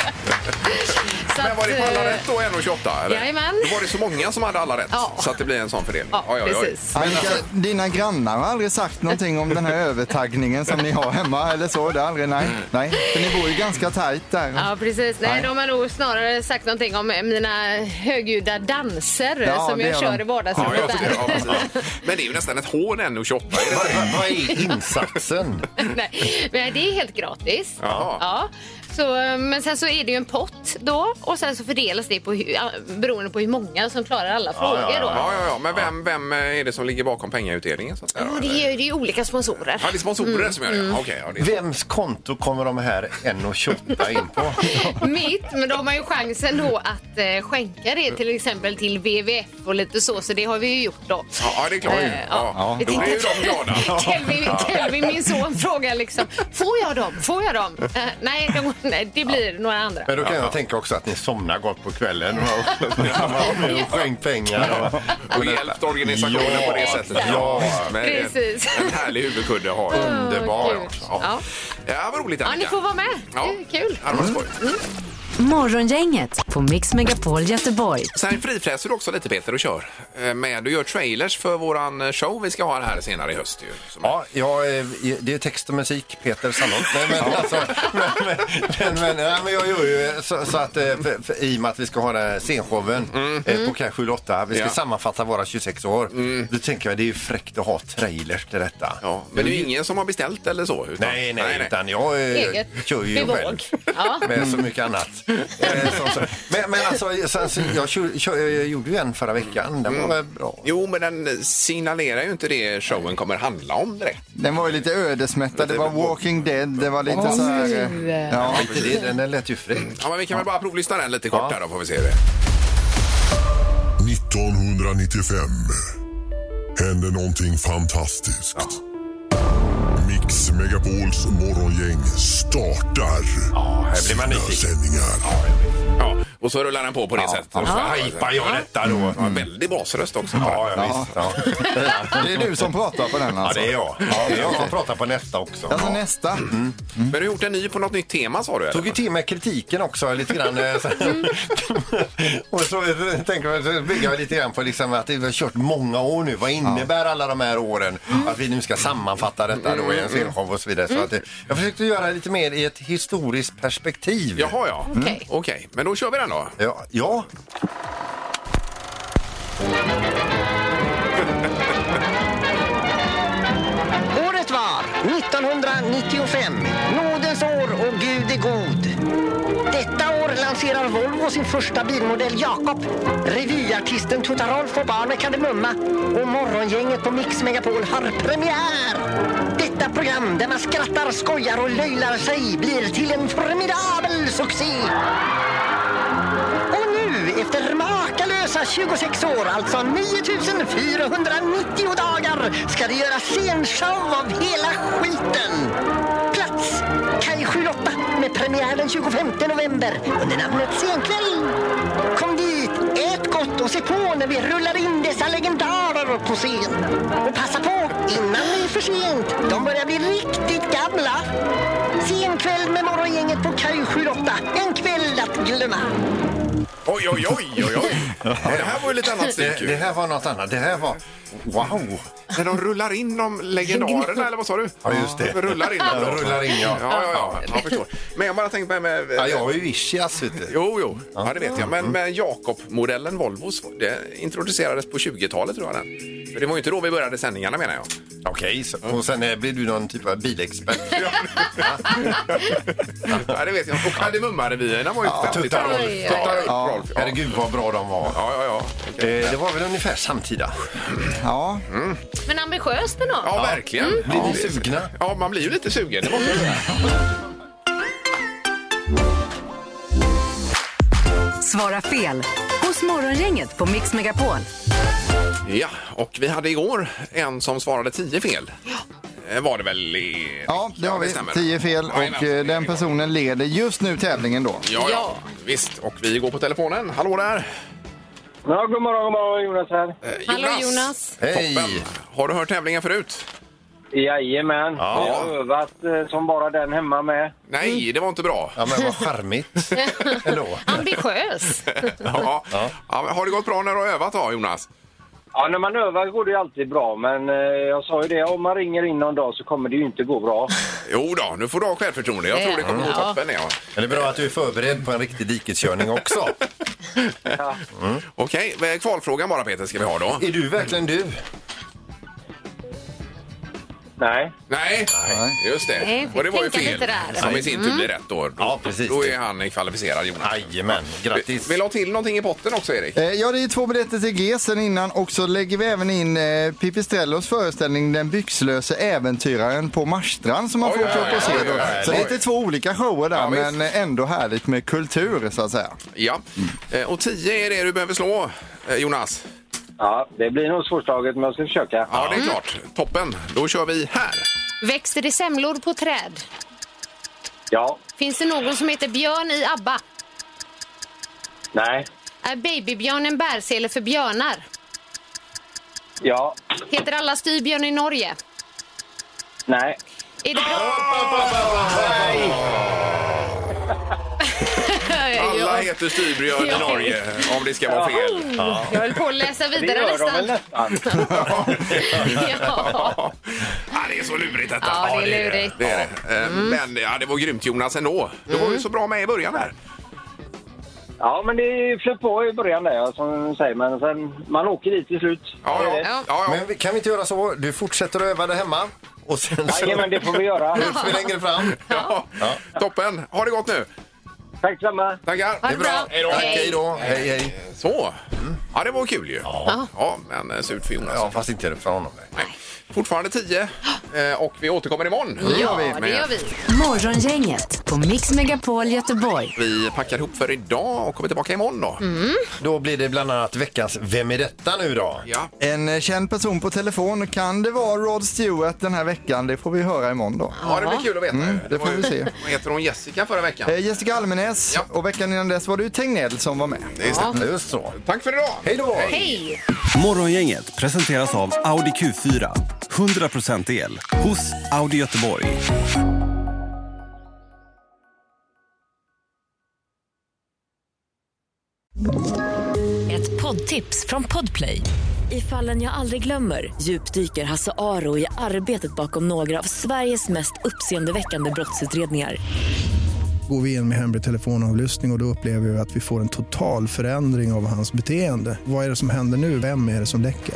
S3: Men var det på alla
S5: eh,
S3: rätt då, 1,28? Eller?
S5: Jajamän.
S3: Då var det så många som hade alla rätt,
S5: Ja.
S3: så att det blir en sån fördelning.
S5: Ja,
S3: Oj, oj, oj.
S5: precis.
S6: Annika,
S3: alltså-
S6: dina grannar har aldrig sagt någonting om den här övertaggningen som ni har hemma eller så? Det har aldrig, nej, nej. För ni bor ju ganska tajt där.
S5: Ja, precis. Nej,
S6: Nej.
S5: De har nog snarare sagt någonting om mina högljudda danser
S6: Ja,
S5: som
S6: det
S5: jag
S6: har
S5: kör
S6: de.
S5: i
S3: Ja,
S5: vardagsrummet.
S3: just det.
S5: där.
S3: Ja, precis. Men det är ju nästan ett hån, 1,28. Är det
S4: Vad,
S3: det?
S4: vad, vad är insatsen?
S5: Nej, men det är helt gratis.
S3: Jaha.
S5: Ja. Så, eh, men sen så är det ju en pott då och sen så fördelas det på hur, ja, beroende på hur många som klarar alla frågor. då.
S3: Ja, ja, ja. Men vem, vem är det som ligger bakom pengautdelningen? Så att säga,
S5: Ja,
S3: då,
S5: det,
S3: eller?
S5: är, Mm. ju- det är ju olika sponsorer.
S3: Ja, det är sponsorer som gör det. Okej, ja, det är...
S4: Vems konto kommer de här 1,28 in på?
S5: Mitt, men då har man ju chansen då att eh, skänka det till exempel till WWF och lite så, så det har vi ju gjort då.
S3: Ja, det är klart.
S5: Eh, ja.
S3: Ja.
S5: Jag
S3: Då är ju
S5: tänkte-
S3: de glada.
S5: Kelvin, Kelvin, min son, frågar liksom Får jag dem? Får jag dem? Eh, nej, de, nej, det blir några andra.
S4: Men då kan jag tänka också att ni somnar gott på kvällen och har nu skänkt pengar. Och,
S3: Och hjälpt organisationen
S4: Ja,
S3: på det sättet.
S4: ja.
S3: visst. Men
S5: Precis.
S3: En härlig huvudkudde har
S4: Underbart.
S5: Åh, gud.
S3: Ja.
S5: Ja.
S3: Ja, vad roligt
S5: ja,
S3: Annika.
S5: ni får vara med. Det är kul. Mm.
S3: Ja, det var skoj.
S2: Morgongänget på Mix Megapol Göteborg.
S3: Sen frifräser du också lite Peter och kör. eh, Med, du gör trailers för våran eh, show vi ska ha här senare i höst. Ju, som
S4: Ja, ja, eh, det är text och musik, Peter Sandholt. Nej, men, alltså, men, men, men, men, nej, men jag gör ju eh, så, så att eh, för, för, i och med att vi ska ha den här scenshowen eh, på kanske 8 vi ska
S3: Ja.
S4: sammanfatta våra 26 år. Då tänker jag det är ju fräckt att ha trailers till detta.
S3: Ja, men det är ju ingen som har beställt eller så? Utan,
S4: Mm. Nej, nej, utan jag eh,
S5: Eget
S4: kör ju
S5: bevåg.
S4: själv.
S5: Ja.
S4: Med så mycket annat. Eh, som, så. Men, men alltså, sen, så, jag, kör, kör, jag gjorde ju en förra veckan. Den var väl bra.
S3: Jo, men den signalerar ju inte det showen kommer handla om direkt.
S6: Den var ju lite ödesmättad. Det var Walking Dead. Det var lite så här... eh, Ja.
S4: Skit i det, den, den lät ju fräck.
S3: Ja, men vi kan väl bara provlyssna den lite kort
S4: Ja.
S3: här då, får vi se hur det är.
S10: 1995 hände någonting fantastiskt. Mix Megapols morgongäng startar
S3: Ja, här blir man
S10: sina
S3: nyfiken.
S10: sändningar.
S3: Ja, och så rullar den på på det sättet. Och så hajpar jag detta då. Ja, väldigt basröst också.
S4: Ja, ja, visst. Ja.
S6: Det är du som pratar på den
S4: ja,
S6: alltså.
S4: det är jag. Ja, det är jag som pratar på nästa också.
S6: Alltså nästa.
S3: Men du har gjort en ny på något nytt tema sa du? eller?
S4: tog ju till mig kritiken också lite grann. eh, så- och så eh, tänker jag, så bygger jag lite grann på liksom att vi har kört många år nu. Vad innebär alla de här åren? Att vi nu ska sammanfatta detta då i en filmshow och så vidare. Så att, eh, jag försökte göra lite mer i ett historiskt perspektiv.
S3: Jaha, ja.
S5: Okej.
S3: Mm. Okej, men då kör vi den då.
S4: Ja, ja.
S7: Året var 1995. Nådens år och Gud är god. Detta år lanserar Volvo sin första bilmodell Jakob. Revyartisten Tuta Rolf och barnen Kardemumma och morgongänget på Mix Megapol har premiär. Detta program där man skrattar, skojar och löjlar sig blir till en formidabel succé. Och nu, efter makalösa 26 år, alltså 9490 dagar, ska det göras scenshow av hela skiten. Plats Kaj 78 med premiär den 25 november under namnet Scenkväll. Kom dit, ät gott och se på när vi rullar in dessa legendarer på scen. Och passa på innan det är för sent. De börjar bli riktigt gamla. Scenkväll med morgongänget på Kaj 78. En kväll att glömma.
S3: Oj, oj, oj, oj, oj. Ja, Det här var ju lite annat
S4: Det, det
S3: stycke.
S4: här var något annat. Det här var... Wow!
S3: När de rullar in de legendarerna, eller vad sa du?
S4: Ja, just det.
S3: De rullar in dem.
S4: De rullar in, ja.
S3: Ja, ja, ja. Jag förstår. Men jag bara tänkte med... med
S4: Ja, Mm. jag har ju ischias, vet du.
S3: Jo, jo, ja, det vet jag. Men med Jakob-modellen Volvos, det introducerades på 20-talet tror jag den. För det var ju inte då vi började sändningarna menar jag.
S4: Okej, så- och sen eh, blir du någon typ av bilexpert.
S3: ja, det vet jag. Och kardemummarevyerna var ju
S4: Ja,
S3: 50-talet.
S4: Tuttar Rolf.
S5: Oj, oj, oj.
S3: Tuttar Rolf,
S6: Ja.
S3: Rolf. Ja,
S4: Herregud vad bra de var.
S3: ja, ja. ja.
S4: Eh, Det var väl ungefär samtida.
S6: Ja.
S5: Men ambitiöst ändå.
S3: Ja, verkligen.
S4: Blir ni sugna?
S3: Ja, man blir ju lite sugen. Det måste jag säga.
S2: Svara fel hos Morgongänget på Mix Megapol.
S3: Ja, och vi hade igår en som svarade 10 fel. Eh, Var det väl? I...
S6: ja, det har vi.
S3: stämmer.
S6: Tio fel och eh,
S3: Jajamän.
S6: den personen leder just nu tävlingen då.
S3: Ja, ja, visst. Och vi går på telefonen. Hallå där!
S1: Ja, god morgon, god morgon Jonas här.
S3: Eh,
S5: Hallå, Jonas.
S4: Hej.
S3: Toppen. Har du hört tävlingen förut?
S1: Jajamän.
S3: Ja.
S1: Jag har övat eh, som bara den hemma med.
S3: Nej, det var inte bra.
S4: Ja, men vad charmigt. Ändå.
S5: Ambitiös.
S3: Ja. Ja. men Har det gått bra när du har övat då, Jonas?
S1: Ja, när man övar går det ju alltid bra, men eh, jag sa ju det, om man ringer in någon dag så kommer det ju inte gå bra.
S3: Jo då, nu får du ha självförtroende. Jag tror det kommer gå
S5: Ja.
S3: toppen. Ja.
S4: Men det är bra att du är förberedd på en riktig dikeskörning också.
S3: Okej, eh, kvalfrågan bara Peter ska vi ha då.
S4: Är du verkligen du?
S1: Nej.
S3: Nej, just det.
S5: Nej, vi
S3: Och det var ju
S5: tänker
S3: fel.
S5: lite där. Mm.
S3: Som i sin tur blir rätt då. Då-
S4: Ja, precis.
S3: Då är han kvalificerad, Jonas.
S4: Jajamän,
S3: Vi-
S4: grattis.
S3: Vill ha till någonting i potten också, Erik?
S6: Eh, Ja, det är två biljetter till G sen innan och så lägger vi även in eh, Pipistrellos föreställning Den byxlöse äventyraren på Marstrand som man
S3: Oj,
S6: får
S3: oj,
S6: åka
S3: oj,
S6: upp och se.
S3: oj,
S6: Då.
S3: oj, oj.
S6: Så det är lite två olika shower där,
S3: Ja, visst.
S6: men eh, ändå härligt med kultur så att säga.
S3: Ja.
S4: Mm.
S3: Eh, Och 10 är det du behöver slå, eh, Jonas.
S1: Ja, det blir nog svårslaget, men jag ska försöka.
S3: Ja, det är klart.
S4: Mm.
S3: Toppen. Då kör vi här.
S5: Växer det semlor på träd?
S1: Ja.
S5: Finns det någon som heter Björn i ABBA?
S1: Nej.
S5: Är Babybjörn en bärsele för björnar?
S1: Ja.
S5: Heter alla styrbjörn i Norge?
S1: Nej.
S5: Är det bra?
S3: Alla heter styrbjörn i
S5: Ja.
S3: Norge, om det ska vara fel.
S5: Jag höll på att läsa
S1: Det
S5: vidare
S1: gör de väl
S5: nästan.
S1: nästan.
S5: ja.
S3: Ja, det är så lurigt detta.
S5: Ja, det är lurigt. Mm.
S3: Det är det. Eh, Men ja, det var grymt Jonas ändå. Du var ju så bra med i början här.
S1: Ja, men det flöt på i början där, ja, som du säger, men sen, man åker dit till slut.
S3: Ja, ja. ja.
S5: Ja.
S3: ja,
S4: Men vi- kan vi inte göra så? Du fortsätter att öva där hemma och sen så
S1: Jajamän, det får vi göra.
S4: hörs vi längre fram.
S3: ja. Toppen. Ha det gott nu.
S1: Tack samma.
S3: Tackar. Eh,
S5: Ha det bra.
S3: Hej då.
S4: Tack, hej då. Hej, hej.
S3: Så. Ja, det var kul ju. Ja, men eh, surt för Jonas.
S4: Ja, fast inte för honom.
S3: Nej. fortfarande 10 eh, och vi återkommer imorgon.
S5: Ja, det
S3: Med-
S5: gör vi.
S2: Morgongänget på Mix Megapol Göteborg.
S3: Vi packar ihop för idag och kommer tillbaka imorgon då.
S5: Mm.
S4: Då blir det bland annat veckans Vem är detta nu då?
S3: Ja.
S6: En eh, känd person på telefon. Kan det vara Rod Stewart den här veckan? Det får vi höra imorgon då.
S3: ja, det blir kul att veta.
S6: Mm,
S3: ju.
S6: det får
S3: var ju-
S6: vi se.
S3: Vad heter hon? Jessica förra veckan?
S6: Eh, Jessica Almenäs
S3: Ja.
S6: och veckan innan dess var det ju Tegnell som var med.
S3: Det är sant.
S4: Just så.
S3: Tack för idag!
S4: Hej då!
S5: Hej!
S11: Morgongänget presenteras av Audi Q4. 100% el hos Audi Göteborg.
S2: Ett poddtips från Podplay. I fallen jag aldrig glömmer djupdyker Hasse Aro i arbetet bakom några av Sveriges mest uppseendeväckande brottsutredningar.
S11: Går vi in med hemlig telefonavlyssning och, och då upplever vi att vi får en total förändring av hans beteende. Vad är det som händer nu? Vem är det som läcker?